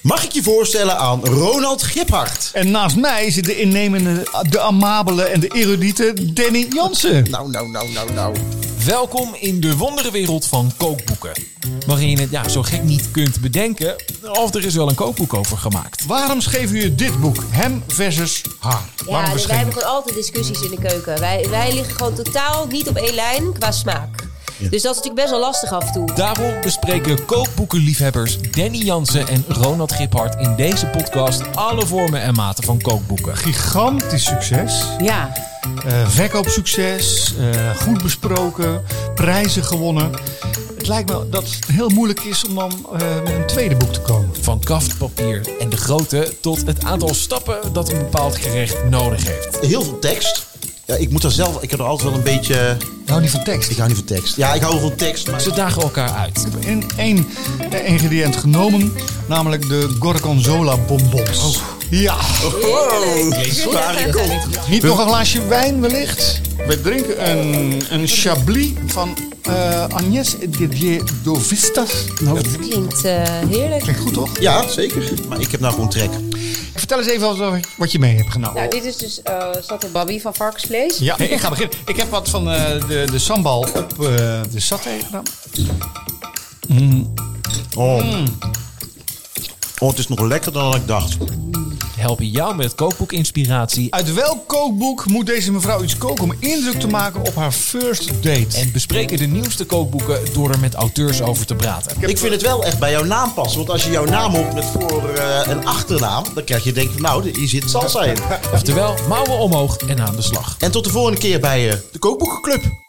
Mag ik je voorstellen aan Ronald Giphart? En naast mij zit de innemende, de amabele en de erudite Danny Jansen. Nou, nou, nou, nou, nou. Welkom in de wonderenwereld van kookboeken. Waarin je het ja, zo gek niet kunt bedenken of er is wel een kookboek over gemaakt. Waarom schreven jullie dit boek? Hem versus haar. Waarom Ja, dus wij verschenen? hebben gewoon altijd discussies in de keuken. Wij, wij liggen gewoon totaal niet op één lijn qua smaak. Dus dat is natuurlijk best wel lastig af en toe. Daarom bespreken kookboekenliefhebbers Danny Jansen en Ronald Giphart in deze podcast alle vormen en maten van kookboeken. Gigantisch succes. Ja, Eh, verkoopsucces, eh, goed besproken, prijzen gewonnen. Het lijkt me dat het heel moeilijk is om dan eh, met een tweede boek te komen. Van kaftpapier en de grootte tot het aantal stappen dat een bepaald gerecht nodig heeft. Heel veel tekst. Ja, ik moet daar zelf... Ik heb er altijd wel een beetje... Ik hou niet Nou, van tekst. Ik hou niet van tekst. Ja, ik hou wel van tekst, maar... Ze dagen elkaar uit. heb in één eh, ingrediënt genomen, namelijk de gorgonzola bonbons. Ja, zware kop. niet nog een glaasje wijn wellicht. We drinken een, een chablis van eh Agnès Didier Dovistas. Nou, Het klinkt eh, heerlijk. klinkt goed toch? Ja, zeker. Maar ik heb nou gewoon trek. Vertel eens even wat, wat je mee hebt genomen. nou dit is dus eh satébabi van varkensvlees. Ja, nee, ik ga beginnen. Ik heb wat van eh, de, de sambal op eh, de saté gedaan. Oh. oh, het is nog lekkerder dan ik dacht. Helpen jou met kookboekinspiratie Uit welk kookboek moet deze mevrouw iets koken om indruk te maken op haar first date? en bespreken de nieuwste kookboeken door er met auteurs over te praten. Ik vind het wel echt bij jouw naam passen. Want als je jouw naam op met voor- eh, en achternaam... dan krijg je denk ik, nou, hier zit salsa in. Oftewel, mouwen omhoog en aan de slag. En tot de volgende keer bij eh, de Kookboekenclub.